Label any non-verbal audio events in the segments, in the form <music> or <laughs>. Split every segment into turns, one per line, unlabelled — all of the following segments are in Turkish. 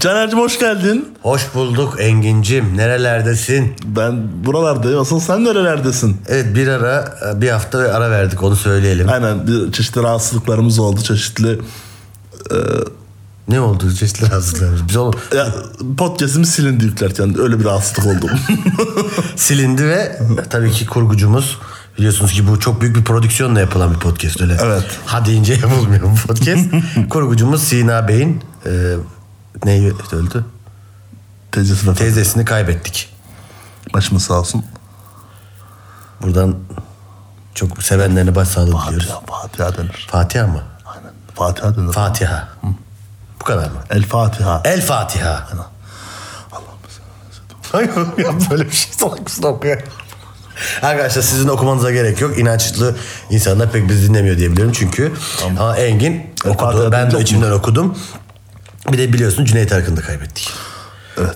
Caner'cim hoş geldin.
Hoş bulduk Engin'cim. Nerelerdesin?
Ben buralardayım. Asıl sen nerelerdesin?
Evet bir ara bir hafta ara verdik onu söyleyelim.
Aynen bir çeşitli rahatsızlıklarımız oldu. Çeşitli
Ne oldu çeşitli <laughs> rahatsızlıklarımız? Biz onu
ya, podcast'imiz silindi yüklerken öyle bir rahatsızlık <laughs> oldu.
silindi ve tabii ki kurgucumuz biliyorsunuz ki bu çok büyük bir prodüksiyonla yapılan bir podcast öyle.
Evet.
Ha deyince <laughs> yapılmıyor bu podcast. kurgucumuz Sina Bey'in e, neyi öldü?
Tecrübesi vefat.
Teyzesini kaybettik.
Başımız sağ olsun.
Buradan çok sevenlerine başsağlığı diliyoruz.
Fatiha, Fatiha denir.
Fatiha mı?
Aynen. Fatiha denir.
Fatiha. Bu kadar mı?
El Fatiha.
El Fatiha. Hayır oğlum ya böyle bir şey salak mısın okuyor? Arkadaşlar sizin okumanıza gerek yok. İnançlı insanlar pek bizi dinlemiyor diyebilirim çünkü. Ha Engin okudu.
Fatiha'dan
Ben de
çok
içimden okudum. Bir de biliyorsun Cüneyt Arkın'da kaybettik.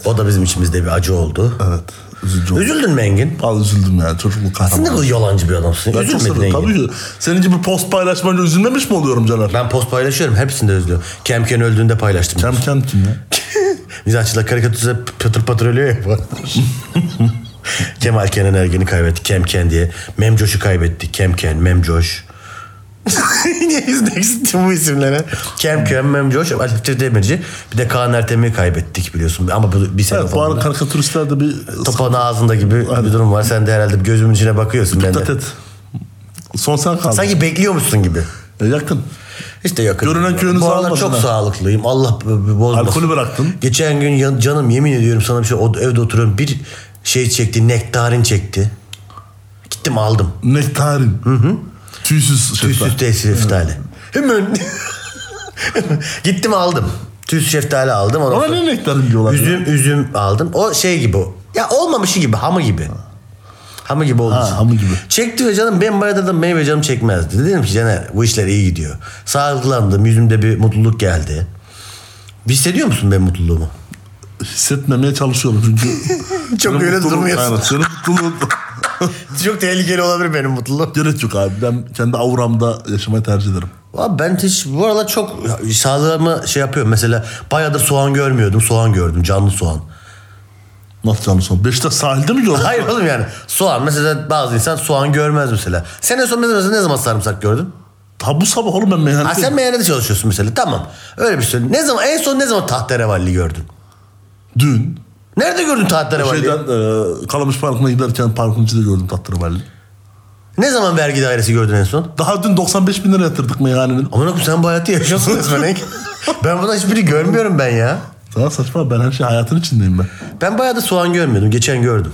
O da bizim içimizde bir acı oldu.
Evet. Üzücü oldu.
Üzüldün mü Engin?
Al üzüldüm yani çocukluk
Sen ne
kahramanı.
kadar yalancı bir adamsın.
Ben çok
Üzülmedin
seviyorum.
Engin.
Tabii ki. Senin gibi post paylaşmayla üzülmemiş mi oluyorum Caner?
Ben post paylaşıyorum. Hepsini de özlüyorum. Kemken öldüğünde paylaştım.
Kem kem kim ya?
Mizahçılar karikatürize patır patır ölüyor
<laughs>
ya. bu aralar. Kemal Kenan Ergen'i kaybettik. Kemken diye. Memcoş'u kaybettik.
<laughs>
Kemken, Memcoş. Niye yüzmek istiyorum bu isimlere? Kemken, Memcoş, Aliftir Demirci. Bir de Kaan Ertem'i kaybettik biliyorsun. Ama bu bir sene
Evet, bu
falan.
arada karikatüristlerde bir
Topan ağzında gibi bir durum var. Sen de herhalde bir gözümün içine bakıyorsun. Ben de.
dikkat et. Son sen kaldın.
Sanki bekliyormuşsun gibi.
E, Yakın.
İşte yakın.
Görünen köyünüzü
Bu aralar
almadın
çok
ha.
sağlıklıyım. Allah b- b- bozmasın.
Alkolü bıraktın.
Geçen gün yan- canım yemin ediyorum sana bir şey o- evde oturuyorum bir şey çekti nektarin çekti. Gittim aldım.
Nektarin. Hı hı. Tüysüz şeftali.
Tüysüz tesir şeftali. Hemen. <laughs> Gittim aldım. Tüysüz şeftali aldım. Ondan
Ona
sonra
ne nektarin diyorlar? ya?
üzüm üzüm aldım. O şey gibi o. Ya olmamışı gibi hamı gibi. Hamı gibi oldu.
Ha, hamı gibi.
Çekti ve canım ben bayağı dedim meyve canım çekmezdi. Dedim ki Caner bu işler iyi gidiyor. Sağlıklandım yüzümde bir mutluluk geldi. Hissediyor musun benim mutluluğumu?
Hissetmemeye çalışıyorum
<laughs>
çünkü.
Çok
Senin
öyle
mutluluğun-
durmuyorsun.
Aynen. Senin mutluluğun
<laughs> Çok tehlikeli olabilir benim mutluluğum.
gerek yok abi. Ben kendi avramda yaşamayı tercih ederim.
Abi ben hiç bu aralar çok sağlığımı şey yapıyorum. Mesela bayağıdır soğan görmüyordum. Soğan gördüm canlı soğan.
Nasıl canlı son? Beşiktaş sahilde mi gördün?
Hayır oğlum yani soğan mesela bazı insan soğan görmez mesela. Sen en son mesela ne zaman sarımsak gördün?
Ha bu sabah oğlum ben
Ha
meyhanede.
sen meyhanede çalışıyorsun mesela tamam. Öyle bir şey. Ne zaman en son ne zaman tahterevalli gördün?
Dün
Nerede gördün
şey
tahterevalli?
şeyden e, Kalamış Parkı'na giderken parkın içinde gördüm Tatlırıvalli.
Ne zaman vergi dairesi gördün en son?
Daha dün 95 bin lira yatırdık meyhanenin.
Aman okum sen bu hayatı yaşıyorsun resmen. Eng. <laughs> ben bundan hiçbiri görmüyorum ben ya.
Sana saçma ben her şey hayatın içindeyim ben.
Ben bayağı da soğan görmüyordum. Geçen gördüm.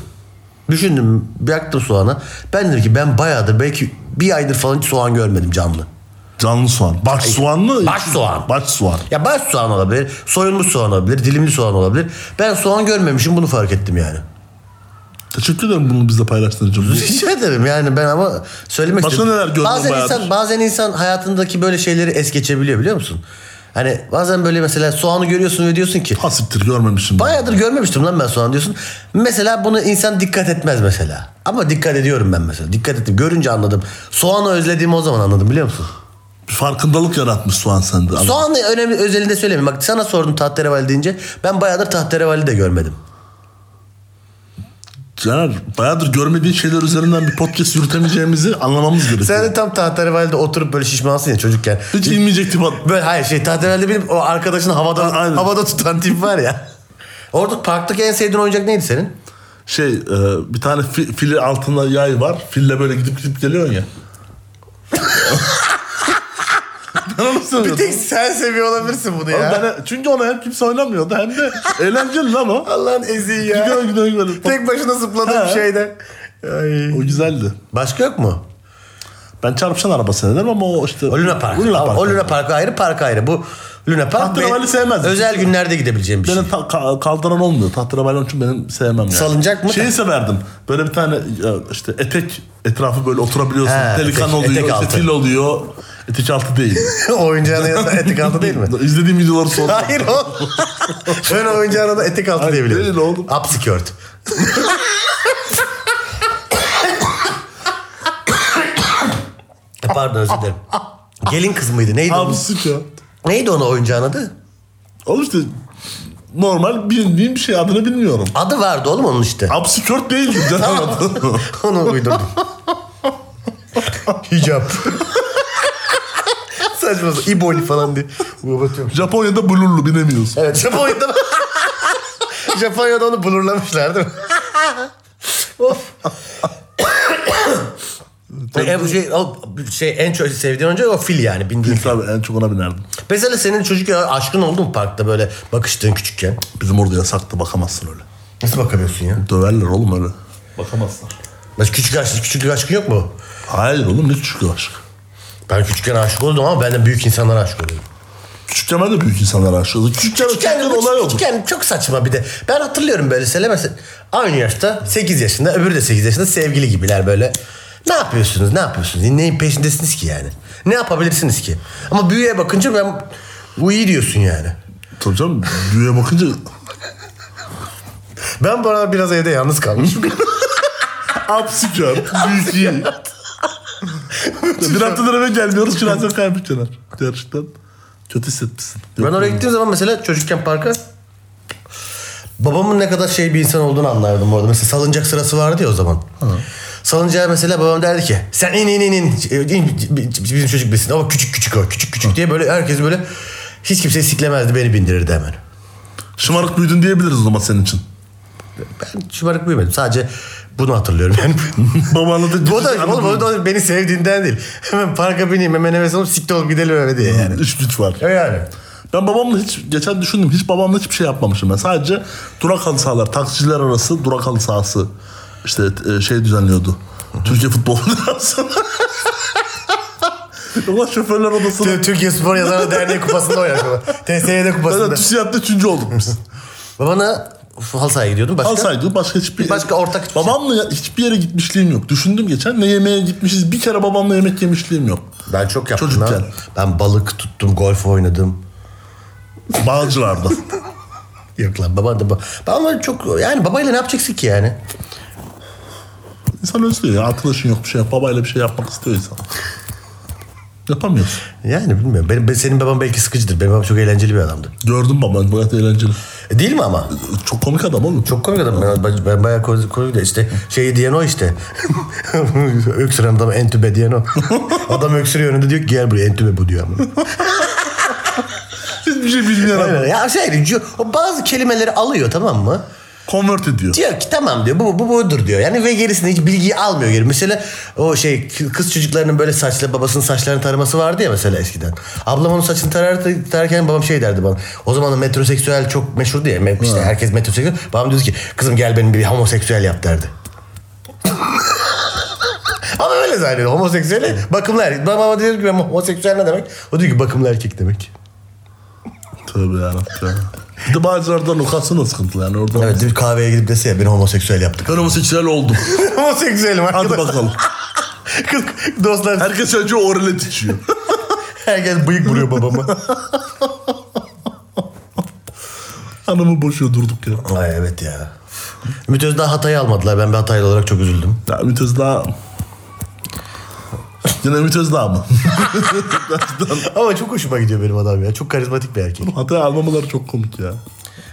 Düşündüm, yaktım soğana. Ben dedim ki ben bayağıdır belki bir aydır falan hiç soğan görmedim canlı.
Canlı soğan. Baş soğanlı.
Baş soğan.
Baş soğan.
Ya baş soğan olabilir, soyulmuş soğan olabilir, dilimli soğan olabilir. Ben soğan görmemişim bunu fark ettim yani.
Teşekkür ederim bunu bizle paylaştığın için.
Rica ederim şey yani ben ama söylemek
Başka
istedim.
neler gördün
bazen
bayağıdır?
insan, bazen insan hayatındaki böyle şeyleri es geçebiliyor biliyor musun? Hani bazen böyle mesela soğanı görüyorsun ve diyorsun ki
Hasiptir görmemişim.
bayağıdır görmemiştim lan ben soğan diyorsun. Mesela bunu insan dikkat etmez mesela. Ama dikkat ediyorum ben mesela. Dikkat ettim. Görünce anladım. Soğanı özlediğimi o zaman anladım biliyor musun?
Bir farkındalık yaratmış soğan sende. Ama
Soğanı önemli özelinde söylemeyeyim. Bak sana sordum tahterevalli deyince. Ben bayağıdır tahterevalli de görmedim.
Caner bayağıdır görmediğin şeyler üzerinden bir podcast yürütemeyeceğimizi anlamamız gerekiyor.
Sen de tam tahterevalide oturup böyle şişmansın ya çocukken.
Hiç inmeyecek tip at.
Böyle hayır şey tahterevalide benim o arkadaşını havada
A- aynen.
havada tutan tip var ya. Orada parktaki en sevdiğin oyuncak neydi senin?
Şey e, bir tane fi, fili altında yay var. Fille böyle gidip gidip geliyorsun ya. <laughs> ben onu seviyordum.
sen seviyor olabilirsin bunu
Oğlum ben- çünkü ona hem kimse oynamıyordu hem de eğlenceli lan o.
Allah'ın eziği
Gidiyor gidiyor gidiyor.
başına zıpladığım
He.
şeyde.
O güzeldi.
Başka yok mu?
Ben çarpışan araba seyrederim ama o işte...
O Luna Park.
Luna Park.
O Luna Park ayrı, park ayrı. Bu Luna Park
Tahterevalli sevmez.
özel günlerde gidebileceğim <laughs> bir şey.
Beni ta- ka- kaldıran olmuyor. Tahterevalli onun için benim sevmem yani.
Salıncak mı?
Şeyi severdim. Böyle bir tane ya, işte etek etrafı böyle oturabiliyorsun.
He,
Pelikan
etek-
oluyor,
etek
işte
altı.
fil oluyor. Etek altı değil.
Oyuncağına yazan <laughs> etek altı değil mi?
<laughs> İzlediğim videoları sordum.
Hayır <laughs> o. Ön oyuncağına da etek altı
Hayır,
diyebilirim.
değil oğlum.
Upskirt. <coughs> Pardon özür dilerim. Gelin kız mıydı? Neydi onun,
Abi sık ya.
neydi onun oyuncağın adı?
Oğlum işte normal bildiğim bir şey adını bilmiyorum.
Adı vardı oğlum onun işte.
Absikört değildi
<laughs>
canım adı.
Onu uydurdum. Hicap. <laughs> Saçma sapan. İboli falan diye. Uğratıyorum.
<laughs> Japonya'da blurlu binemiyorsun.
Evet <laughs> Japonya'da Japonya'da onu bulurlamışlar değil mi? <laughs> <coughs> of. en, şey, o, şey, en çok sevdiğin oyuncak o fil yani bindiğin fil.
Tabii en çok ona binerdim.
Mesela senin çocukken aşkın oldu mu parkta böyle bakıştığın küçükken?
Bizim orada yasaktı bakamazsın öyle.
Nasıl bakamıyorsun ya?
Döverler oğlum öyle. Bakamazsın.
Nasıl küçük aşk, küçüklük aşkın yok mu?
Hayır oğlum ne küçük aşk.
Ben küçükken aşık oldum ama ben de büyük insanlara aşık oldum.
Küçükken ben de büyük insanlara aşık oldum. Küçükken, küçükken,
Küçükken,
olay oldu.
küçükken çok saçma bir de. Ben hatırlıyorum böyle Sele mesela aynı yaşta 8 yaşında öbürü de 8 yaşında sevgili gibiler böyle. Ne yapıyorsunuz ne yapıyorsunuz neyin peşindesiniz ki yani? Ne yapabilirsiniz ki? Ama büyüye bakınca ben bu iyi diyorsun yani.
Tabii canım düğüye bakınca
Ben bu aralar biraz evde yalnız kalmışım. <laughs>
absikört, büyük iyi. bir haftadır eve gelmiyoruz. Şirasyon kaybı Caner. Gerçekten kötü hissetmişsin.
ben
Yok,
oraya gittiğim zaman mesela çocukken parka babamın ne kadar şey bir insan olduğunu anlardım orada. Mesela salıncak sırası vardı ya o zaman. Salıncağa mesela babam derdi ki sen in in in in. E, in bizim çocuk bilsin ama küçük küçük o küçük küçük diye böyle herkes böyle hiç kimse siklemezdi beni bindirirdi hemen.
Şımarık büyüdün diyebiliriz o zaman senin için.
Ben şımarık büyümedim sadece bunu hatırlıyorum
<laughs>
yani.
Babanla da...
Bu da, oğlum, o da beni sevdiğinden değil. Hemen parka bineyim hemen heves olup sikti olup gidelim eve diye yani.
Üç güç var.
E yani.
Ben babamla hiç geçen düşündüm. Hiç babamla hiçbir şey yapmamışım ben. Sadece durak halı sahalar, taksiciler arası durak halı sahası. İşte e, şey düzenliyordu. Türkiye Futbol Federasyonu. <laughs> Ulan şoförler odasında.
Tü- Türkiye Spor Yazarı Derneği
<laughs>
kupasında oynadık. TSYD
Ben de
kupasında.
TÜSİAD'da üçüncü olduk biz.
Babana Uf, halı sahaya gidiyordun. Başka?
Halı sahaydı. Başka hiçbir...
Başka ortak hiçbir şey.
Babamla ya- hiçbir yere gitmişliğim yok. Düşündüm geçen ne yemeğe gitmişiz. Bir kere babamla yemek yemişliğim yok.
Ben çok yaptım
Çocukken.
lan. Ben balık tuttum, golf oynadım. <laughs>
Bağcılar'da.
Yok lan baba da... Babamla çok... Yani babayla ne yapacaksın ki yani?
İnsan özlüyor ya. Arkadaşın yok bir şey yok. Babayla bir şey yapmak istiyor insan. Yapamıyorsun.
Yani bilmiyorum. Benim, ben- senin baban belki sıkıcıdır. Benim babam çok eğlenceli bir adamdı.
Gördüm baban gayet eğlenceli.
E, değil mi ama?
Çok komik adam oğlum.
Çok komik adam. Ben, ben, ben bayağı komik, komik de işte şey diyen o işte. <laughs> Öksüren adam entübe diyen <laughs> o. adam öksürüyor önünde diyor ki gel buraya entübe bu diyor <laughs> ama.
Hiçbir şey bilmeyen adam.
ya şey diyor, o bazı kelimeleri alıyor tamam mı?
Convert ediyor.
Diyor ki tamam diyor bu, bu budur diyor. Yani ve gerisinde hiç bilgiyi almıyor geri. Mesela o şey k- kız çocuklarının böyle saçla babasının saçlarını taraması vardı ya mesela eskiden. Ablam onun saçını tarar, tararken babam şey derdi bana. O zaman da metroseksüel çok meşhurdu ya. Me- işte herkes metroseksüel. Babam diyordu ki kızım gel benim bir homoseksüel yap derdi. <laughs> Ama öyle zannediyor. Homoseksüel bakımlı erkek. Babama diyor ki ben homoseksüel ne demek? O diyor ki bakımlı erkek demek.
Tövbe yarabbim ya. Bir de Bağcılar'da lokasyon da sıkıntılı yani. Orada
Evet bir kahveye gidip dese ya beni homoseksüel yaptık. <laughs>
Ben homoseksüel oldum.
homoseksüelim <laughs>
Hadi
arkadaşlar.
bakalım.
Kız, dostlar
Herkes önce orale içiyor.
<laughs> Herkes bıyık vuruyor babama. <laughs>
Hanımı boşuyor durduk ya.
Ay evet ya. Ümit Özdağ Hatay'ı almadılar. Ben bir Hataylı olarak çok üzüldüm.
Ya Ümit Özdağ... Yine Ümit Özdağ mı? <laughs>
Ama çok hoşuma gidiyor benim adam ya. Çok karizmatik bir erkek.
Hatay'a almamaları çok komik ya.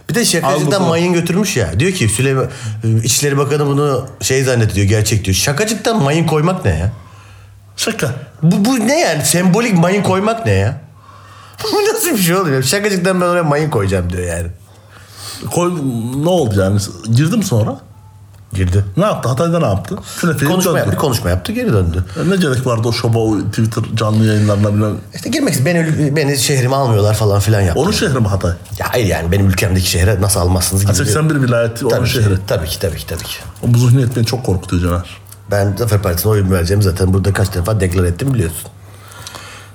Bir de şakacıktan
Almadılar.
mayın götürmüş ya. Diyor ki Süleyman e, İçişleri Bakanı bunu şey zannediyor gerçek diyor. Şakacıktan mayın koymak ne ya?
Şaka.
Bu, bu ne yani? Sembolik mayın koymak ne ya? <laughs> Bu nasıl bir şey oluyor? Şakacıktan ben oraya mayın koyacağım diyor yani.
Koy, ne oldu yani? Girdim sonra.
Girdi.
Ne yaptı? Hatay'da ne yaptı? Künefeyi
Konuşma yaptı,
döndü.
konuşma yaptı geri döndü.
Ne gerek vardı o şoba, o Twitter canlı yayınlarına bilmem.
İşte girmek beni, beni şehrime almıyorlar falan filan yaptı.
Onun şehri mi Hatay?
Ya hayır yani benim ülkemdeki şehre nasıl almazsınız gibi. bir-
81 vilayeti onun
Tabii ki,
şehri.
tabii ki tabii ki tabii ki.
O bu zihniyet beni çok korkutuyor Caner.
Ben Zafer Partisi'ne oyun vereceğim zaten burada kaç defa deklar ettim biliyorsun.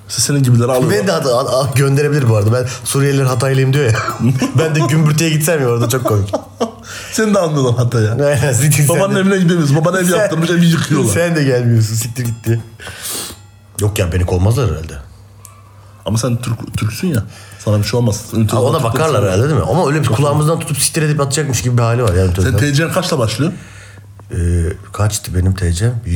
İşte senin gibileri alıyor.
Beni de hata- a- a- gönderebilir bu arada. Ben Suriyeliler Hataylıyım diyor ya. <laughs> ben de gümbürtüye gitsem ya orada çok komik. <laughs>
Seni de anlıyorlar Hatay'a.
Aynen, siktir
Babanın
sen de-
evine gidemiyoruz. Baban şey ev
sen-
yaptırmış evi yıkıyorlar.
Sen de gelmiyorsun siktir gitti. Yok ya beni kovmazlar herhalde.
Ama sen Türk, Türksün ya. Sana bir şey olmaz. Ümit
Ha,
Özdağ
ona
Türk
bakarlar
olsa-
herhalde değil mi? Ama öyle bir kulağımızdan tutup siktir edip atacakmış gibi bir hali var. Yani
Sen TC'nin kaçla başlıyor?
Ee, Kaçtı benim TC'm? 1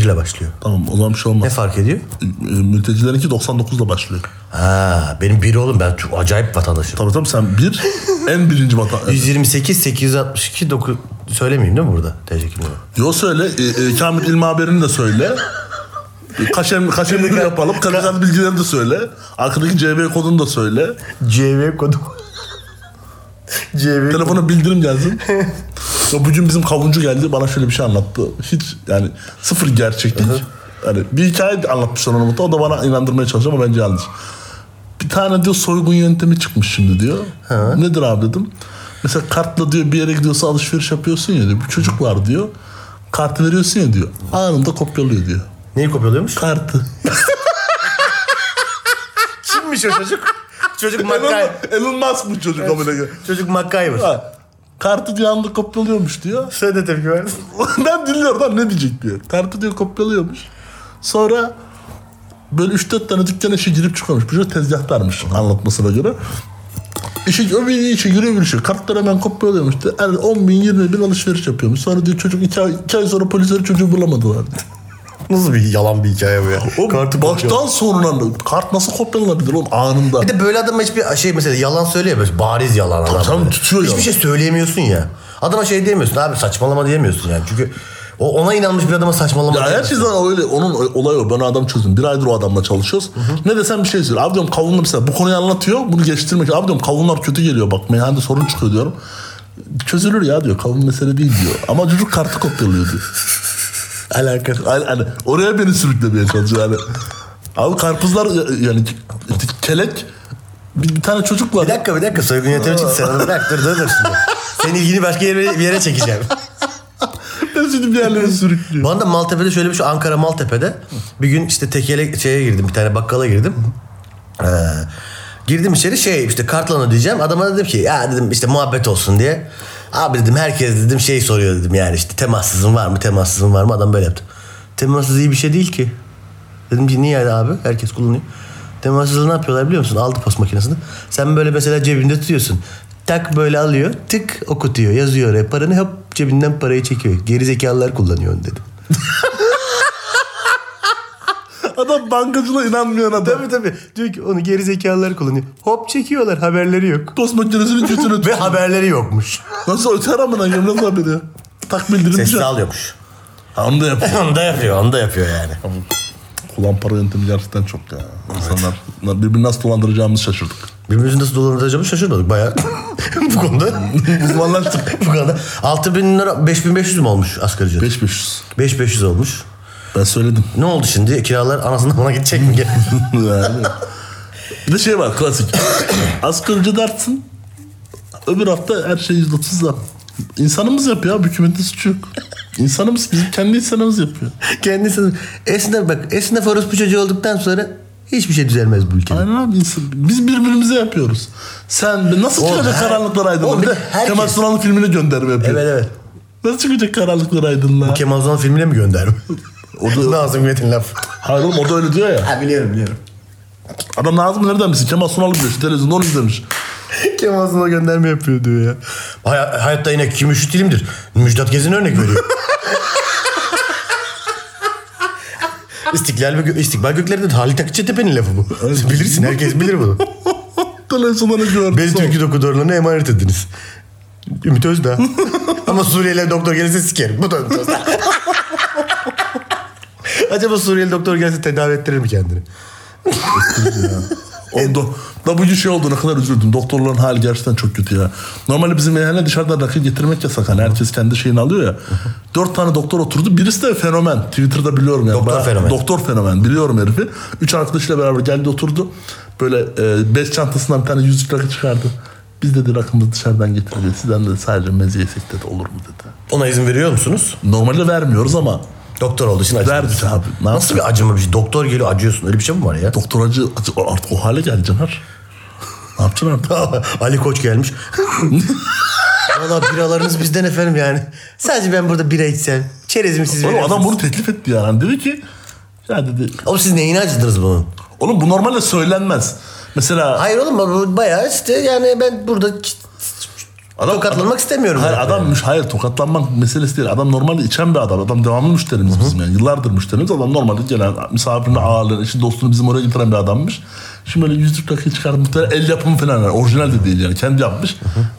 ile başlıyor.
Tamam o zaman bir şey
Ne
olmaz.
fark ediyor?
E, Mültecilerinki 99'da başlıyor.
Ha, benim biri oğlum ben çok acayip vatandaşım.
Tabii tabii sen bir en birinci vatan.
128, 862, 9... Söylemeyeyim değil mi burada TC kimliği?
Yo söyle e, e, Kamil İlmi haberini de söyle. E, Kaşem, kaşemini yapalım. Kalender bilgilerini de söyle. Arkadaki CB kodunu da söyle.
CV kodu. CV kodu.
Telefona bildirim gelsin. ya bugün bizim kavuncu geldi bana şöyle bir şey anlattı. Hiç yani sıfır gerçeklik. Hani bir hikaye anlatmışlar ona mutlaka. O da bana inandırmaya çalışıyor ama bence yanlış. Bir tane diyor soygun yöntemi çıkmış şimdi diyor. Nedir abi dedim. Mesela kartla diyor bir yere gidiyorsa alışveriş yapıyorsun ya diyor. Bir çocuk var diyor. Kartı veriyorsun ya diyor. Anında kopyalıyor diyor.
Neyi kopyalıyormuş?
Kartı.
Kimmiş o çocuk? çocuk
Elon,
MacGyver.
Elon Musk bu çocuk amına koyayım.
çocuk MacGyver.
Ha, Kartı diyor anında kopyalıyormuş diyor.
Sen de tepki ver.
ben dinliyorum lan ne diyecek diyor. Kartı diyor kopyalıyormuş. Sonra böyle 3-4 tane dükkan işe girip çıkıyormuş. Bir sürü tezgahtarmış anlatmasına göre. İşe, o bir işe giriyor bir işe. Kartları hemen kopyalıyormuş. diyor. Yani 10 bin 20 bin alışveriş yapıyormuş. Sonra diyor çocuk 2 ay, iki ay sonra polisler çocuğu bulamadılar.
Nasıl bir yalan bir hikaye bu ya?
O
kopyalıyor.
baştan sonuna kart nasıl kopyalanabilir oğlum anında.
Bir de böyle adama hiçbir şey mesela yalan söylüyor böyle bariz yalan adam.
tabii,
böyle.
tutuyor
Hiçbir
yalan.
şey söyleyemiyorsun ya. Adama şey diyemiyorsun abi saçmalama diyemiyorsun yani. Çünkü o ona inanmış bir adama saçmalama
Ya her şey
diyemiyorsun.
şeyden öyle. Onun olayı o. Ben o adam çözdüm. Bir aydır o adamla çalışıyoruz. Ne desem bir şey söylüyor. Abi diyorum kavunlar mesela bu konuyu anlatıyor. Bunu geçtirmek. Abi diyorum kavunlar kötü geliyor. Bak meyhanede sorun çıkıyor diyorum. Çözülür ya diyor. Kavun mesele değil diyor. Ama çocuk kartı kopyalıyor
<laughs>
diyor.
Alakası.
Yani, hani oraya beni sürüklemeye çalışıyor. Yani. Abi karpuzlar yani kelek bir, bir tane çocuk var.
Bir dakika bir dakika soygun yöntemi çıktı sen bir dakika dur dur dur şimdi. Senin ilgini başka yere, bir yere çekeceğim.
Ben şimdi bir yerlere sürüklüyor.
Bu arada Maltepe'de şöyle bir şey Ankara Maltepe'de bir gün işte tekele şeye girdim bir tane bakkala girdim. Ee, girdim içeri şey işte kartlanı diyeceğim. Adama dedim ki ya dedim işte muhabbet olsun diye. Abi dedim herkes dedim şey soruyor dedim yani işte temassızın var mı temassızın var mı adam böyle yaptı. Temassız iyi bir şey değil ki. Dedim ki niye abi herkes kullanıyor. Temassızı ne yapıyorlar biliyor musun? Aldı post makinesini. Sen böyle mesela cebinde tutuyorsun. Tak böyle alıyor tık okutuyor yazıyor oraya paranı hop cebinden parayı çekiyor. Geri zekalılar kullanıyor onu dedim.
Adam bankacılığa inanmıyor adam.
Tabii tabii. Diyor ki onu geri zekalılar kullanıyor. Hop çekiyorlar haberleri yok.
Post makinesinin götünü
Ve haberleri <laughs> yokmuş.
Nasıl öter amına koyayım, nasıl haberi? Tak bildirim.
Sessiz
şey.
alıyormuş.
Ha, Onu da yapıyor.
<laughs> onu da yapıyor, onu da yapıyor yani.
Kullan para yöntemi gerçekten çok ya. İnsanlar birbirini nasıl dolandıracağımızı şaşırdık.
Birbirimizi nasıl dolandıracağımızı şaşırmadık bayağı. <laughs> bu konuda.
<laughs> Uzmanlaştık.
<laughs> bu konuda. 6000 lira, 5500 mü olmuş asgari ücret?
5500.
5500 olmuş.
Ben söyledim. <laughs>
Ne oldu şimdi? Kiralar anasından bana gidecek mi? <laughs>
Yani. Bir de şey var klasik. <coughs> Asgari ücret artsın. Öbür hafta her şey %30 zam. İnsanımız yapıyor abi. Hükümetin suçu yok. İnsanımız bizim kendi insanımız yapıyor.
Kendisi esnaf bak esnaf orospu çocuğu olduktan sonra hiçbir şey düzelmez bu ülkede.
Aynen abi. insan- Biz birbirimize yapıyoruz. Sen nasıl
Oğlum,
çıkacak
her-
karanlıklar aydınlığı?
Oğlum,
Bir de
herkes-
Kemal Sunal'ın filmine gönderme yapıyor.
Evet evet.
Nasıl çıkacak karanlıklar aydınlığa?
Kemal Sunal filmine mi gönderme? o da <laughs> Nazım Hikmet'in lafı.
Hayır oğlum o da öyle diyor ya.
Ha biliyorum biliyorum.
Adam Nazım nereden bilsin? Kemal Sunal diyor. Şu televizyonda onu izlemiş.
<laughs> Kemal Sunal gönderme yapıyor diyor ya. Hay- hayatta yine kim üşüt ilimdir. Müjdat Gezen örnek <laughs> veriyor. İstiklal ve gö- İstiklal göklerinde Halit Akçatepe'nin lafı bu.
Evet.
Bilirsin herkes bilir bunu.
Televizyonda ne gördüm?
<laughs> Beni Türkü doktorlarına emanet ediniz. Ümit <laughs> Özdağ. Ama Suriyeli doktor gelirse sikerim. Bu da Ümit Özdağ. <laughs> Acaba Suriyeli doktor gelse tedavi ettirir mi kendini?
Oldu. Da bugün şey oldu ne kadar üzüldüm. Doktorların hali gerçekten çok kötü ya. Normalde bizim meyhane dışarıdan rakı getirmek yasak. Hani herkes kendi şeyini alıyor ya. Dört tane doktor oturdu. Birisi de fenomen. Twitter'da biliyorum yani.
Doktor fenomen.
Doktor fenomen. Biliyorum herifi. Üç arkadaşıyla beraber geldi oturdu. Böyle e, bez çantasından bir tane yüzlük rakı çıkardı. Biz dedi rakımızı dışarıdan getireceğiz. Sizden de sadece meze yesek dedi. Olur mu dedi.
Ona izin veriyor musunuz?
Normalde vermiyoruz ama
Doktor olduğu için acı.
verdik abi. Ne
Nasıl bir acıma bir şey? Doktor geliyor acıyorsun. Öyle bir şey mi var ya?
Doktor acı, acı- artık o hale geldi Caner. Ne yapacaksın artık?
<laughs> Ali Koç gelmiş. Valla biralarınız bizden efendim yani. Sadece ben burada bira içsem. Çerezimi siz
Oğlum
verirsiniz.
adam bunu teklif etti yani. Dedi ki ya dedi
Oğlum siz neyini acıdınız bunun?
oğlum bu normalde söylenmez. Mesela
Hayır oğlum bu bayağı işte yani ben burada
Adam-
Tokatlanmak istemiyorum.
Hayır
zaten.
adam müş- hayır tokatlanmak meselesi değil. Adam normalde içen bir adam. Adam devamlı müşterimiz bizim yani. Yıllardır müşterimiz. Adam normalde gelen misafirini ağırlayan, işte dostunu bizim oraya getiren bir adammış. Şimdi böyle yüzlük takıyı çıkarıp muhtemelen el yapımı falan. Yani orijinal de değil yani. Kendi yapmış.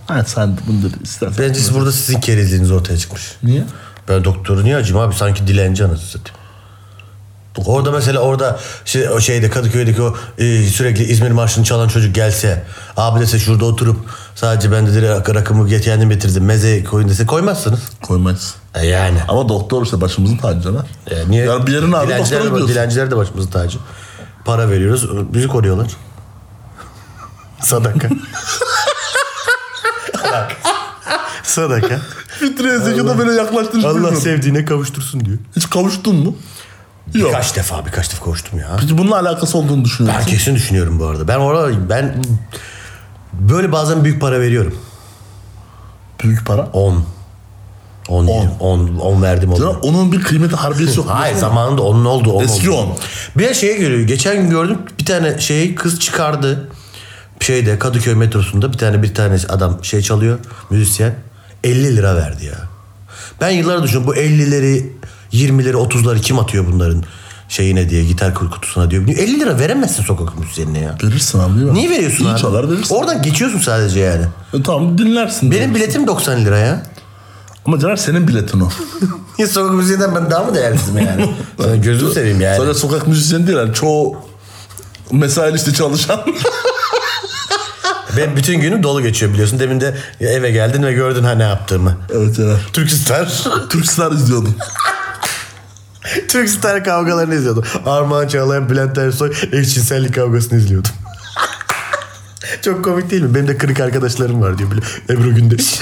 Ha sen bunu da istersen.
Bence siz burada sizin kerizliğiniz ortaya çıkmış.
Niye?
Ben doktoru niye acıyım abi? Sanki dilenci anasını satayım. Orada mesela orada şey, o şeyde Kadıköy'deki o e, sürekli İzmir Marşı'nı çalan çocuk gelse abi dese şurada oturup sadece ben de direkt rakımı get- kendim bitirdim meze koyun dese koymazsınız.
Koymayız.
E yani.
Ama doktor işte başımızın tacı lan.
E niye?
Yani bir yerin ağrı doktora
dilenciler,
gidiyorsun.
de, dilenciler de başımızın tacı. Para veriyoruz.
<laughs>
Bizi koruyorlar. Sadaka. Sadaka.
Fitreye zekada böyle yaklaştın.
Allah
Allah
sevdiğine kavuştursun diyor.
Hiç kavuştun mu? Yok.
Kaç defa birkaç defa koştum ya.
Peki bununla alakası olduğunu düşünüyorum.
Ben kesin düşünüyorum bu arada. Ben orada ben böyle bazen büyük para veriyorum.
Büyük para.
10. 10 10 10, verdim
Ya
ona.
onun bir kıymeti harbiyesi yok.
Hayır zamanında onun oldu. On
Eski
oldu.
on.
Bir şeye geliyor. Geçen gün gördüm bir tane şey kız çıkardı. Şeyde Kadıköy metrosunda bir tane bir tane adam şey çalıyor. Müzisyen. 50 lira verdi ya. Ben yıllardır düşünüyorum bu 50'leri 20'leri 30'ları kim atıyor bunların şeyine diye gitar kutusuna diyor. 50 lira veremezsin sokak müzisyenine ya.
Verirsin abi değil mi?
Niye veriyorsun
İyi
abi?
çalar verirsin.
Oradan geçiyorsun sadece yani.
E, tamam dinlersin.
Benim biletim 90 lira ya.
Ama Caner senin biletin o.
Niye sokak müziğinden ben daha mı değerliyim yani? <laughs> Sana gözümü seveyim yani.
Sadece sokak müzisyeni değil yani çoğu mesai işte çalışan. <laughs>
Benim bütün günüm dolu geçiyor biliyorsun. Demin de eve geldin ve gördün ha ne yaptığımı.
evet Caner.
Türk Star.
Türkstar izliyordum.
<laughs> Türk Star kavgalarını izliyordum. Armağan Çağlayan, Bülent Ersoy eşcinsellik kavgasını izliyordum. <laughs> Çok komik değil mi? Benim de kırık arkadaşlarım var diyor. Böyle Ebru Gündeş.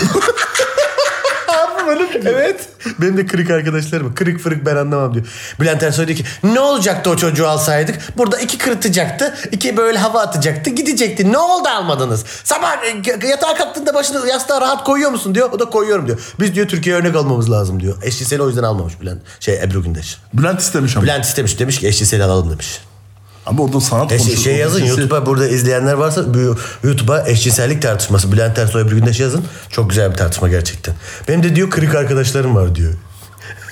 evet. Benim de kırık arkadaşlarım var. Kırık fırık ben anlamam diyor. Bülent Ersoy diyor ki ne olacaktı o çocuğu alsaydık? Burada iki kırıtacaktı, iki böyle hava atacaktı, gidecekti. Ne oldu almadınız? Sabah e, yatağa kalktığında başını yastığa rahat koyuyor musun diyor. O da koyuyorum diyor. Biz diyor Türkiye'ye örnek almamız lazım diyor. Eşcinseli o yüzden almamış Bülent. Şey Ebru Gündeş.
Bülent istemiş ama.
Bülent istemiş demiş ki eşcinsel alalım demiş.
Abi orada sanat
E, şey,
konuşuyor.
şey yazın
Orada sesi-
YouTube'a burada izleyenler varsa bu- YouTube'a eşcinsellik tartışması Bülent Ersoy Ebru Gündeş şey yazın. Çok güzel bir tartışma gerçekten. Benim de diyor kırık arkadaşlarım var diyor.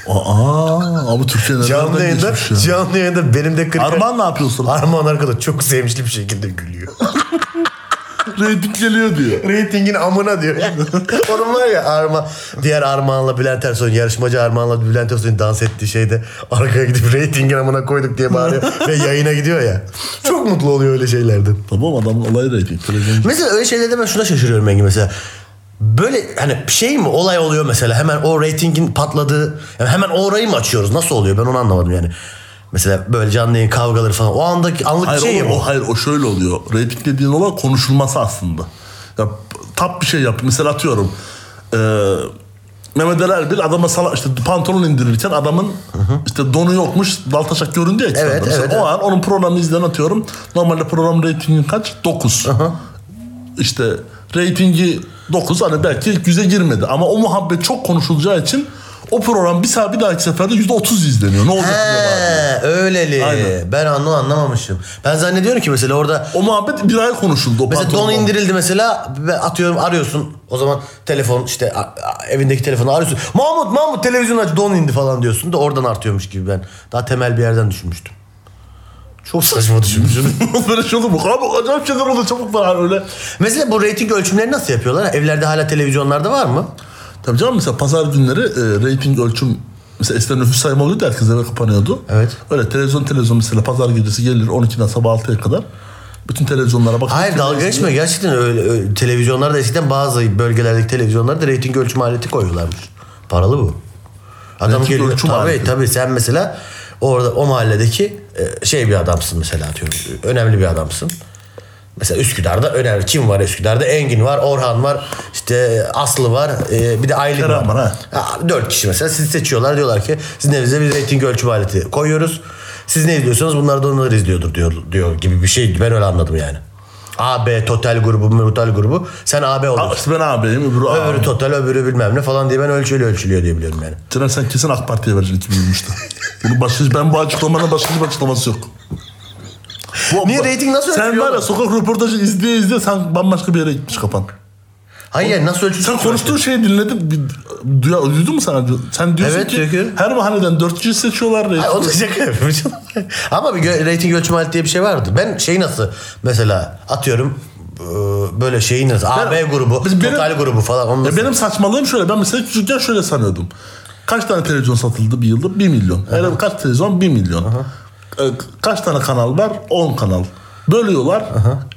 şey- Aa, abi Türkçe nereden
Canlı yayında,
geçmiş ya?
canlı yayında benim de kırık...
Arman ne yapıyorsun?
Arman arkadaş çok sevinçli bir şekilde gülüyor.
Rating geliyor diyor.
Ratingin amına diyor. Onun var ya Arma, diğer Armağan'la Bülent Ersoy'un yarışmacı Armağan'la Bülent Ersoy'un dans ettiği şeyde arkaya gidip ratingin amına koyduk diye bağırıyor ve yayına gidiyor ya. Çok mutlu oluyor öyle şeylerden.
Tamam adamın olayı rating. Televizyoncu.
Mesela öyle şeylerde ben şuna şaşırıyorum Engin mesela. Böyle hani bir şey mi olay oluyor mesela hemen o reytingin patladığı yani hemen o orayı mı açıyoruz nasıl oluyor ben onu anlamadım yani. Mesela böyle canlı yayın kavgaları falan o andaki anlık
Hayır,
şey
oğlum, <laughs>
mi?
o, hayır o şöyle oluyor. Rating dediğin olay konuşulması aslında. Ya, tap bir şey yap. Mesela atıyorum. E, Mehmet Ali Erbil adama sala, işte pantolon indirirken adamın işte donu yokmuş dal taşak göründü ya. ekranda.
Evet,
Mesela
evet,
o an
evet.
onun programı izlen atıyorum. Normalde program reytingin kaç? 9. İşte reytingi 9 hani belki 100'e girmedi ama o muhabbet çok konuşulacağı için o program bir, sefer, bir dahaki seferde %30 izleniyor. Ne olacak? diye bağırıyor.
He, öyleli.
Aynen.
Ben anla anlamamışım. Ben zannediyorum ki mesela orada
O muhabbet bir ay konuşuldu. O
mesela
pantolon
don
muhabbeti.
indirildi mesela ve atıyorum arıyorsun. O zaman telefon işte a- a- evindeki telefonu arıyorsun. Mahmut Mahmut televizyon aç don indi falan diyorsun da oradan artıyormuş gibi ben. Daha temel bir yerden düşünmüştüm. Çok saçma düşünmüşüm.
Böyle şey olur mu? Abi acayip şeyler oldu çabuk var hani öyle.
Mesela bu reyting ölçümleri nasıl yapıyorlar? Evlerde hala televizyonlarda var mı?
Tabii canım mesela pazar günleri e, rating ölçüm mesela eskiden nüfus sayımı oluyordu herkes eve kapanıyordu.
Evet.
Öyle televizyon televizyon mesela pazar gecesi gelir 12'den sabah 6'ya kadar. Bütün televizyonlara bakar.
Hayır dalga geçme gerçekten öyle, öyle televizyonlarda eskiden bazı bölgelerdeki televizyonlarda reyting ölçüm aleti koyuyorlarmış. Paralı bu. Adam
Reyting
geliyor
ölçüm
tabii
aleti.
tabii sen mesela orada o mahalledeki e, şey bir adamsın mesela atıyorum. Önemli bir adamsın. Mesela Üsküdar'da önemli. Kim var Üsküdar'da? Engin var, Orhan var, işte Aslı var, e, bir de Aylin
Kerem
var.
var, ha.
Ha, Dört kişi mesela sizi seçiyorlar diyorlar ki sizin evinize bir reyting ölçüm aleti koyuyoruz. Siz ne izliyorsanız bunlar da onları izliyordur diyor, diyor gibi bir şey. Ben öyle anladım yani. A, B, Total grubu, Total grubu. Sen A, B
Aa,
oluyorsun.
işte ben ağabeyim öbürü ağabeyim.
Öbürü Total, öbürü bilmem ne falan diye ben ölçülü ölçülüyor diye biliyorum yani.
Caner sen kesin AK Parti'ye vereceksin 2023'te. Bunu başka, ben bu açıklamanın başka bir açıklaması yok. Bu-
Niye
bu-
reyting nasıl
Sen
ölçülüyor
var ya
oğlum?
sokak röportajı izleye izleye sen bambaşka bir yere gitmiş kapan.
Hayır yani nasıl ölçücü?
Sen konuştuğun şeyi dinledim. Bir, duya, duydun mu sen? Sen diyorsun
Evet,
ki
çünkü-
her mahaneden dört kişi seçiyorlar. E,
Ay, o da şaka yapıyorum canım. <laughs> Ama bir gö- rating ölçme aleti diye bir şey vardı. Ben şeyi nasıl mesela atıyorum e, böyle şeyi nasıl A, B grubu,
Biz- benim-
total grubu falan. Onu
Ya
nasıl-
benim saçmalığım şöyle. Ben mesela çocukken şöyle sanıyordum. Kaç tane televizyon satıldı bir yılda? 1 milyon. Hele kaç televizyon? 1 milyon. Ee, Kaç tane kanal var? 10 kanal. Bölüyorlar.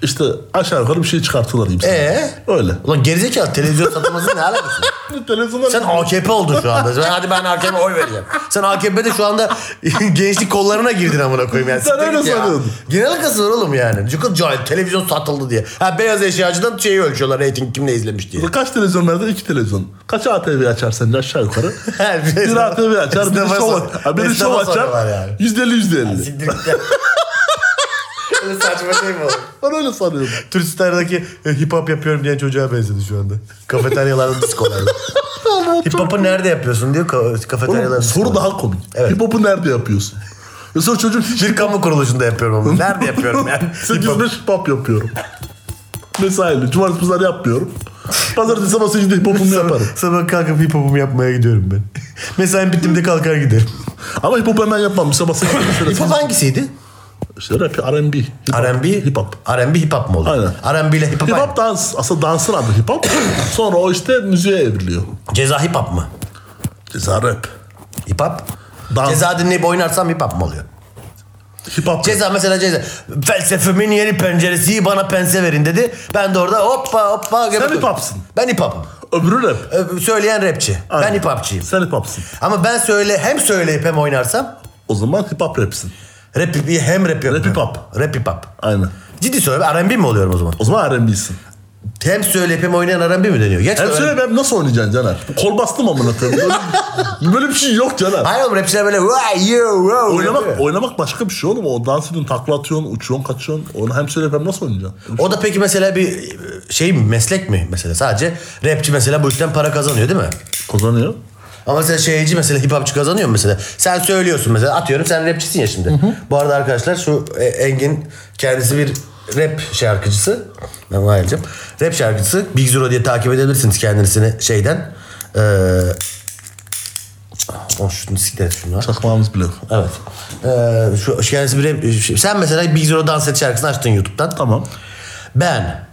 İşte aşağı yukarı bir şey çıkartıyorlar gibi.
Ee?
Öyle.
Ulan gerizekalı televizyon satılması ne alakası?
Televizyonlar
Sen AKP oldun şu anda. Ben, hadi ben AKP'ye oy vereceğim. Sen AKP'de şu anda <laughs> gençlik kollarına girdin amına koyayım yani.
Sen
Siktir
öyle
git ya.
sanıyordun.
Genel alakası var oğlum yani. Çünkü cahil televizyon satıldı diye. Ha beyaz eşyacıdan şeyi ölçüyorlar reyting kim ne izlemiş diye.
Kaç televizyon verdi? 2 televizyon. Kaç ATV açar sence aşağı
<laughs>
yukarı? bir ATV açar, biri
Esnafa
şov,
sor-
ha, biri şov
esnafa
açar.
soruyorlar yani.
Yüzde elli, yüzde elli.
Siktir git ya. <laughs> Öyle saçma şey mi oğlum?
Ben öyle sanıyordum.
Turistler'deki e, hip hop yapıyorum diyen çocuğa benzedi şu anda. Kafeteryalarda, <laughs> diskolarda. hip hop'u nerede yapıyorsun diyor ka- kafeteryalarda.
Oğlum, soru
diskolarda.
daha komik.
Evet.
Hip hop'u nerede
<laughs>
yapıyorsun? Ve sonra çocuğun hiç
Bir kamu kuruluşunda yapıyorum onu. Nerede
<laughs>
yapıyorum <laughs> yani? Hip
8
hop.
5 hip hop yapıyorum. Mesaili. Cumartesi pazar yapmıyorum. Pazartesi sabah 8'de hip hopumu yaparım.
Sabah kalkıp hip hopumu yapmaya gidiyorum ben. <laughs> Mesaim bittiğimde kalkar giderim.
Ama hip hop hemen yapmam. Sabah
<laughs>
8'de şöyle.
Hip hop hangisiydi?
İşte rap, R&B. hip hop,
R&B.
Hip hop.
R&B hip hop mu oldu?
Aynen.
R&B ile hip hop.
Hip
aynı.
hop dans. Aslında dansın adı hip hop. Sonra o işte müziğe evriliyor.
Ceza hip hop mu?
Ceza rap.
Hip hop.
Dans.
Ceza dinleyip oynarsam hip hop mu oluyor?
Hip hop.
Ceza mesela ceza. Felsefemin yeni penceresi bana pense verin dedi. Ben de orada hoppa hoppa. göbek
hip
oldum.
hopsın.
Ben hip hop'ım.
Öbürü rap.
Ö- Söyleyen rapçi.
Aynen.
Ben hip hopçıyım.
Sen hip hopsın.
Ama ben söyle hem söyleyip hem oynarsam
O zaman hip hop rapsin.
rap hem rap yapıyorum.
Rap hip hop.
Rap hip hop.
Aynen.
Ciddi söylüyorum R&B mi oluyorum o zaman?
O zaman R&B'sin.
Hem söyleyip hem oynayan R&B mi deniyor? Geç
Hem
R&B.
söyle ben nasıl oynayacaksın Caner? Kol bastım amına koyayım. Böyle- Böyle bir şey yok Caner.
Hayır oğlum rapçiler böyle "Vay, yo, wow"
Oynamak,
yapıyor.
oynamak başka bir şey oğlum. O dans ediyorsun, takla atıyorsun, uçuyorsun, kaçıyorsun. Onu hem söyle hem nasıl oynayacaksın?
O da peki mesela bir şey mi meslek mi mesela sadece rapçi mesela bu işten para kazanıyor değil mi?
Kazanıyor.
Ama mesela şeyci mesela hip hopçı kazanıyor mu mesela? Sen söylüyorsun mesela atıyorum sen rapçisin ya şimdi. Bu arada arkadaşlar şu e, Engin kendisi bir rap şarkıcısı. Ben ayrıca. Rap şarkıcısı Big Zero diye takip edebilirsiniz kendisini şeyden. Ee, oh, şunu siktir et şunu.
Çakmağımız bile yok.
Evet. Ee, şu kendisi bir rap- sen mesela Big Zero dans et şarkısını açtın YouTube'dan.
Tamam.
Ben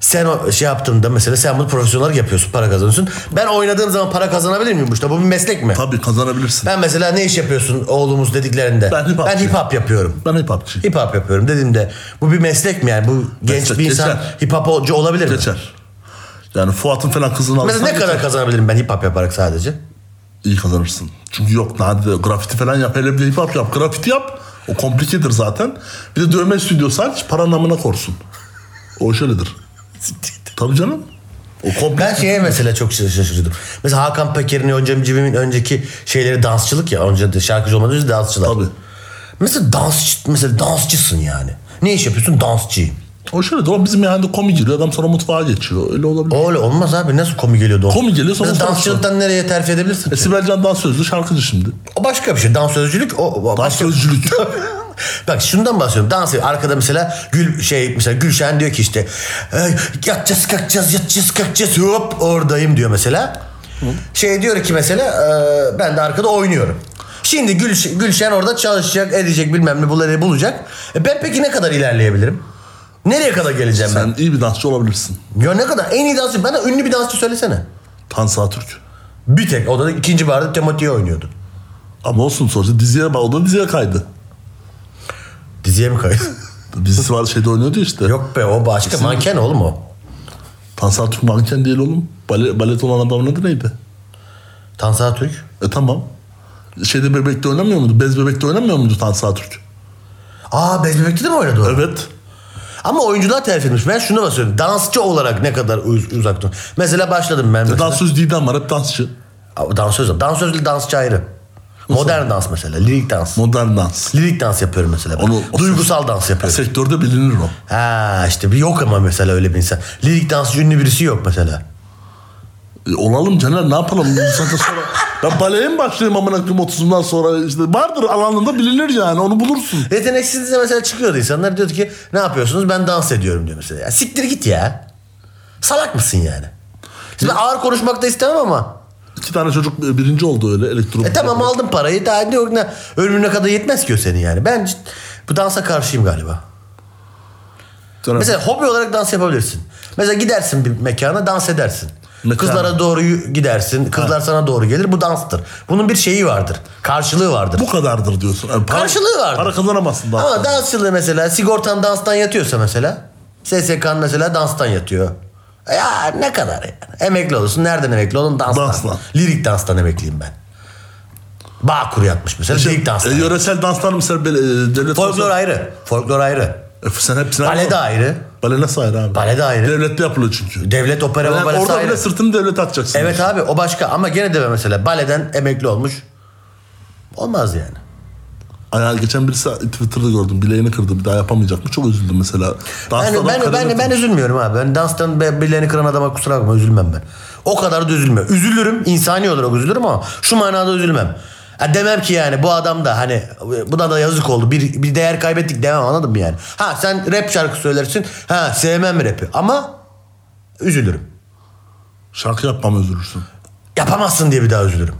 sen o şey yaptığında mesela sen bunu profesyonel olarak yapıyorsun para kazanıyorsun. Ben oynadığım zaman para kazanabilir miyim bu işte? Bu bir meslek mi?
Tabii kazanabilirsin.
Ben mesela ne iş yapıyorsun oğlumuz dediklerinde?
Ben hip hopçıyım.
hip hop yapıyorum.
Ben hip hopçıyım.
Hip hop yapıyorum dediğimde bu bir meslek mi yani? Bu genç
Meslek,
bir insan
geçer.
hip hopçu olabilir mi?
Geçer. Yani Fuat'ın falan kızını alırsan
Mesela ne kadar
geçer.
kazanabilirim ben hip hop yaparak sadece?
iyi kazanırsın. Çünkü yok nadide grafiti falan yap. Hele bir de hip hop yap. Grafiti yap. O komplikedir zaten. Bir de dövme stüdyosu aç. Para namına korsun. O şöyledir. Tabii canım. O komplike.
Ben şeye mesela çok şaş- şaşırdım. Mesela Hakan Peker'in öncemimin önceki şeyleri dansçılık ya. Önce de şarkıcı olmadan önce dansçılar.
Tabii.
Mesela dansçı, mesela dansçısın yani. Ne iş yapıyorsun? Dansçıyım.
O şöyledir. O bizim yani komi giriyor. Adam sonra mutfağa geçiyor. Öyle olabilir.
Öyle olmaz abi. Nasıl komik geliyordu o?
Komik geliyor, sonra
Mesela
sonra-
dansçılıktan nereye terfi edebilirsin?
E, Sibel Can daha sözlü şarkıcı şimdi.
O başka bir şey. Dansözcülük o, o
Daha
başka. <laughs>
sözcülük.
Bak şundan bahsediyorum. Dans ediyor. Arkada mesela Gül şey mesela Gülşen diyor ki işte "E, yatacağız kalkacağız yatacağız kalkacağız hop oradayım diyor mesela. Şey diyor ki mesela "E, ben de arkada oynuyorum. Şimdi Gülş- Gülşen orada çalışacak edecek bilmem ne bunları bulacak. E ben peki ne kadar ilerleyebilirim? Nereye kadar geleceğim
Sen iyi bir dansçı olabilirsin.
ben? Ya ne kadar en iyi dansçı bana ünlü bir dansçı söylesene.
Tansu Atürk.
Bir tek o da ikinci barda Temoti'ye oynuyordu.
Ama olsun sonuçta diziye bağlı. O da diziye kaydı.
Diziye mi kaydı? <laughs>
Dizisi var şeyde oynuyordu ya işte.
Yok be o başka manken oğlum o.
Tansu Atürk manken değil oğlum. Bale, balet olan adamın adı neydi?
Tansa Türk.
E tamam. Şeyde bebekte oynamıyor muydu? Bez bebekte oynamıyor muydu Tansu Atürk?
Aa Bez Bebek'te de mi oynadı o?
Evet.
Ama oyunculuğa terfi etmiş. Ben şunu da söyleyeyim. Dansçı olarak ne kadar uz- uzak dur. Mesela başladım ben mesela.
Dansöz Didem var hep dansçı.
Aa, Dansöz. Dansözle dansçı ayrı. Modern dans mesela. Lirik dans.
Modern dans.
Lirik dans yapıyorum mesela. ben.
Onu- o-
Duygusal dans yapıyorum.
Sektörde bilinir o.
Ha işte bir yok ama mesela öyle bir insan. Lirik dansçı ünlü birisi yok mesela.
E, olalım Caner ne yapalım? Bu saatten
<laughs>
sonra... Ben baleye mi başlayayım amına koyayım 30'umdan sonra? işte vardır alanında bilinir yani onu bulursun.
Yeteneksiz de mesela çıkıyordu insanlar diyordu ki ne yapıyorsunuz ben dans ediyorum diyor mesela. Ya siktir git ya. Salak mısın yani? Şimdi ben ağır konuşmak da istemem ama.
İki tane çocuk e, birinci oldu öyle elektro.
E tamam aldım parayı daha ne, ne ölümüne kadar yetmez ki o senin yani. Ben cid- bu dansa karşıyım galiba.
Sonra-
Mesela hobi olarak dans yapabilirsin. Mesela gidersin bir mekana dans edersin.
Mekan.
Kızlara doğru yü- gidersin. Kızlar sana doğru gelir. Bu danstır. Bunun bir şeyi vardır. Karşılığı vardır.
bu kadardır diyorsun. Yani para-
Karşılığı vardır.
Para kazanamazsın daha.
Ama dansçılığı mesela sigortan danstan yatıyorsa mesela. SSK'nın mesela danstan yatıyor. E Ya ne kadar yani. Emekli olursun. Nereden emekli olun? Danstan.
Danstan.
Lirik danstan emekliyim ben. Bağkur yatmış mesela.
Şey,
lirik danstan.
e, yöresel danslar mesela böyle, e, devlet...
Folklor ayrı. Folklor ayrı.
E, sen hepsine...
Bale de ayrı.
Bale nasıl ayrı abi?
Bale de ayrı.
Devlette yapılıyor çünkü.
Devlet opera
Yani
balesi
orada
ayrı.
bile sırtını devlete atacaksın.
Evet abi o başka ama gene de mesela baleden emekli olmuş. Olmaz yani.
Ayağı geçen birisi Twitter'da gördüm. Bileğini kırdı. Bir daha yapamayacak mı? Çok üzüldüm mesela.
Ben,
Dansla
ben,
adam
ben, ben,
kariyeri-
üzülmüyorum abi. Ben danstan be- birilerini kıran adama kusura bakma üzülmem ben. O kadar da üzülmem. Üzülürüm. insani olarak üzülürüm ama şu manada üzülmem. Ha demem ki yani bu adam da hani bu da da yazık oldu. Bir, bir değer kaybettik demem anladın mı yani? Ha sen rap şarkı söylersin. Ha sevmem rapi ama üzülürüm.
Şarkı yapmam üzülürsün.
Yapamazsın diye bir daha üzülürüm.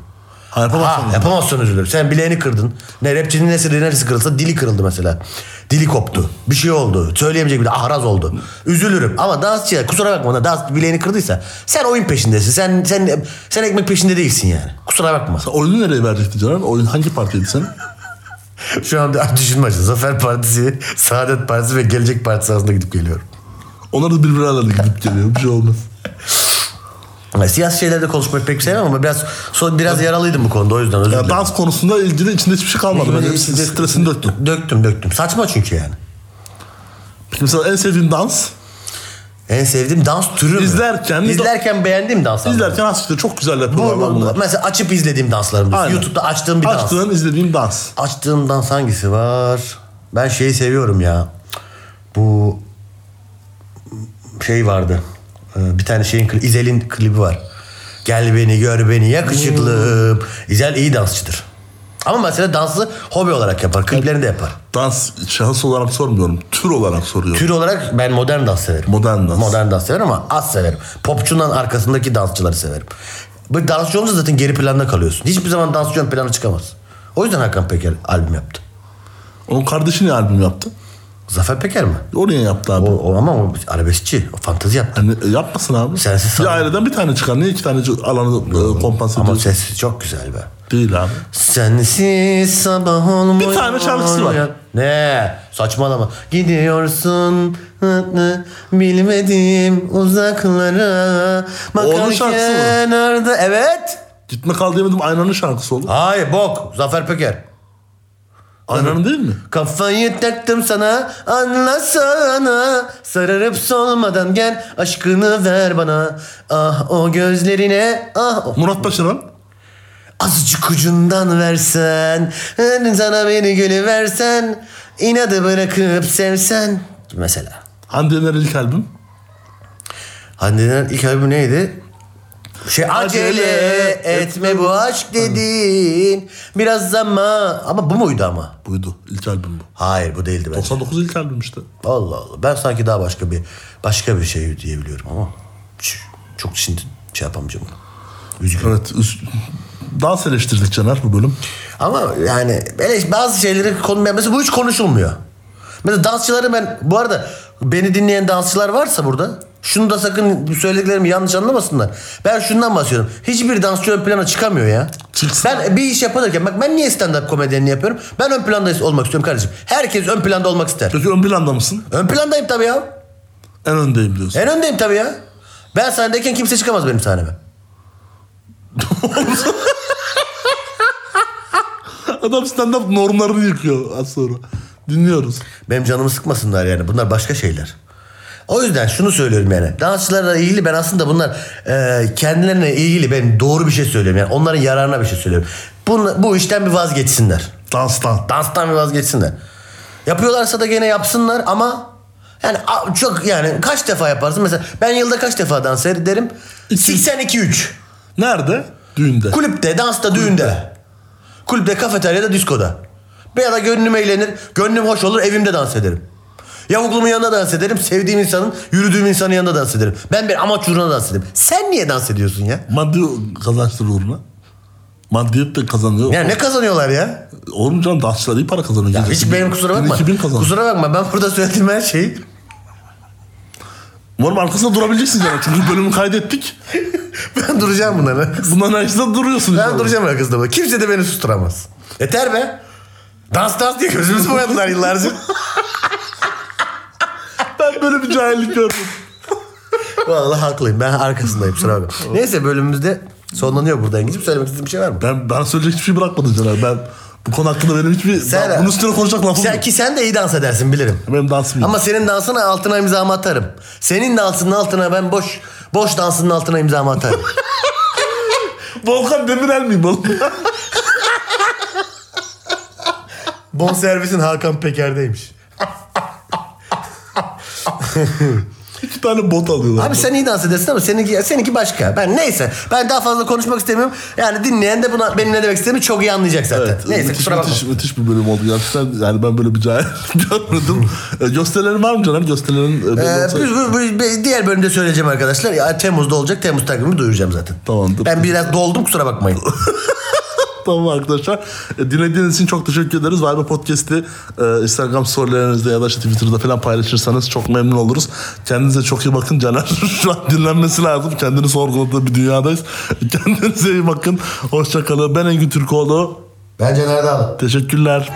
Ha yapamazsın.
Ha, yapamazsın üzülür. Sen bileğini kırdın. Ne rapçinin nesi, neresi kırılsa dili kırıldı mesela. Dili koptu. Bir şey oldu. Söyleyemeyecek bir de ahraz oldu. Üzülürüm. Ama dansçı kusura bakma. Dans bileğini kırdıysa sen oyun peşindesin. Sen sen sen ekmek peşinde değilsin yani. Kusura bakma.
Oyunu nereye verecekti Canan? Oyun hangi partiydi senin?
Şu anda <laughs> düşünme açın. Zafer Partisi, Saadet Partisi ve Gelecek Partisi arasında gidip geliyorum.
Onlar da birbirine arada gidip geliyor. Bir şey olmaz.
Yani siyasi şeylerde konuşmayı pek sevmem ama biraz son biraz yaralıydım bu konuda o yüzden özür
Ya
dilerim.
dans konusunda ilgili içinde hiçbir şey kalmadı. Ben hepsini stresini döktüm.
Döktüm döktüm. Saçma çünkü yani.
Peki mesela en sevdiğin dans.
En sevdiğim dans türü mü?
İzlerken-
İzlerken beğendiğim dans anlamı.
İzlerken aslında çok güzel yapıyorlar
Bu- bu-
lan bunlar.
Mesela açıp izlediğim danslarım.
Aynen.
YouTube'da açtığım bir dans.
Açtığın, izlediğin dans.
Açtığım dans hangisi var? Ben şeyi seviyorum ya. Bu şey vardı. Ee, Bir tane şeyin kli- İzel'in klibi var. Gel beni gör beni yakışıklım.
Hmm.
İzel iyi dansçıdır. Ama mesela dansı hobi olarak yapar. Kliplerini de yapar.
Dans şahıs olarak sormuyorum. Tür olarak soruyorum.
Tür olarak ben modern dans severim.
Modern dans.
Modern dans severim ama az severim. Popçunun arkasındaki dansçıları severim. Bu dansçı olunca zaten geri planda kalıyorsun. Hiçbir zaman dansçı ön plana çıkamaz. O yüzden Hakan Peker albüm yaptı.
Onun kardeşi niye albüm yaptı?
Zafer Peker mi?
O niye yaptı abi?
O, o ama o arabeskçi. O fantezi yaptı.
Hani e, yapmasın abi.
Sensiz
bir
sanırım.
aileden bir tane çıkar. Niye iki tane c- alanı e, kompanse
Ama
ediyorsun?
sesi çok güzel be.
Değil abi.
Sensiz sabah olmuyor.
Bir tane şarkısı var.
Ne? Saçmalama. Gidiyorsun hı hı, bilmediğim uzaklara. Bakarken
şarkısı mı?
arada- Evet.
Gitme kal diyemedim. Aynanın şarkısı oldu.
Hayır bok. Zafer Peker.
Aynanın değil mi?
Kafayı taktım sana anlasana Sararıp solmadan gel aşkını ver bana Ah o gözlerine ah o
Murat Başaran.
Azıcık ucundan versen Sana beni gülü versen inadı bırakıp sevsen Mesela
Hande Yener ilk albüm.
Hande'nin ilk albümü neydi? Şey acele,
Acele
etme bu aşk dedin Biraz zaman Ama bu muydu ama?
Buydu. İlk albüm bu.
Hayır bu değildi bence.
99 ilk albüm işte.
Allah Allah. Ben sanki daha başka bir başka bir şey diyebiliyorum ama ç- çok şimdi şey yapamayacağım bunu. Üzgünüm.
Evet. üst- Dans eleştirdik Caner bu bölüm.
Ama yani böyle bazı şeyleri konulmuyor. Mesela bu hiç konuşulmuyor. Mesela dansçıları ben bu arada beni dinleyen dansçılar varsa burada şunu da sakın söylediklerimi yanlış anlamasınlar. Ben şundan bahsediyorum. Hiçbir dansçı ön plana çıkamıyor ya.
Çıksın.
Ben bir iş yaparken bak ben niye stand up komedyenliği yapıyorum? Ben ön planda olmak istiyorum kardeşim. Herkes ön planda olmak ister.
Peki ön planda mısın?
Ön plandayım tabii ya.
En öndeyim diyorsun.
En öndeyim tabii ya. Ben sahnedeyken kimse çıkamaz benim sahneme.
<laughs> Adam stand-up normlarını yıkıyor az sonra. Dinliyoruz.
Benim canımı sıkmasınlar yani. Bunlar başka şeyler. O yüzden şunu söylüyorum yani. Dansçılarla ilgili ben aslında bunlar e, kendilerine ilgili ben doğru bir şey söylüyorum. Yani onların yararına bir şey söylüyorum. Bunu, bu işten bir vazgeçsinler.
Danstan.
Danstan bir vazgeçsinler. Yapıyorlarsa da gene yapsınlar ama yani a- çok yani kaç defa yaparsın mesela ben yılda kaç defa dans ederim? 82-3.
Nerede? Düğünde.
Kulüpte, dansta, düğünde. Kulüpte, kafeteryada, diskoda. Bir ya da gönlüm eğlenir, gönlüm hoş olur, evimde dans ederim. Yavuklumun yanında dans ederim. Sevdiğim insanın, yürüdüğüm insanın yanında dans ederim. Ben bir amaç uğruna dans ederim. Sen niye dans ediyorsun ya?
Maddi kazançları uğruna. Maddiyet de kazanıyor.
Ya ne kazanıyorlar ya?
Oğlum canım dansçılar iyi para kazanıyor.
Ya
Gece
hiç
2000,
benim kusura bakma.
2000 kazanıyor.
Kusura bakma ben burada söylediğim her şeyi <laughs>
Umarım arkasında durabileceksin yani. Çünkü bölümü kaydettik.
ben duracağım bunlara.
Bunların arkasında duruyorsun.
Ben
inşallah.
duracağım arkasında bak. Kimse de beni susturamaz. Yeter be. Dans dans diye gözümüzü boyadılar yıllarca.
Ben böyle bir cahillik gördüm.
Vallahi haklıyım. Ben arkasındayım. Sıra bakma. Neyse bölümümüzde sonlanıyor burada İngilizce. Söylemek istediğin bir şey var mı?
Ben, ben söyleyecek hiçbir şey bırakmadın Caner. Ben bu konu hakkında benim hiçbir...
Sen-
ben bunun üstüne konuşacak lafım
Sen,
yok.
ki sen de iyi dans edersin bilirim.
Benim dansım yok.
Ama senin dansına altına imzamı atarım. Senin dansının altına ben boş boş dansının altına imzamı atarım.
Volkan Demirel miyim oğlum? <laughs>
bon servisin Hakan Peker'deymiş.
İki tane bot alıyorlar.
Abi sen iyi dans edersin ama seninki, seninki başka. Ben neyse. Ben daha fazla konuşmak istemiyorum. Yani dinleyen de buna benim ne demek istediğimi çok iyi anlayacak zaten.
Evet,
neyse
müthiş,
kusura bakma.
müthiş, müthiş bir bölüm oldu gerçekten. Yani ben böyle bir cahil <laughs>
<laughs>
görmedim. E, Gösterilerin var mı Caner? Gösterilerin... e, belli
Ee,
olsa-
bu- bu- bu- diğer bölümde söyleyeceğim arkadaşlar. Ya, Temmuz'da olacak. Temmuz takvimi duyuracağım zaten.
Tamamdır.
Ben biraz doldum kusura bakmayın.
Tamam arkadaşlar. E, Dinlediğiniz için çok teşekkür ederiz. Vibe Podcast'i e, Instagram storylerinizde ya da işte Twitter'da falan paylaşırsanız çok memnun oluruz. Kendinize çok iyi bakın. Caner <laughs> şu an dinlenmesi lazım. Kendini sorguladığı bir dünyadayız. <laughs> Kendinize iyi bakın. Hoşçakalın. Ben Engin Türkoğlu.
Bence nerede
Teşekkürler.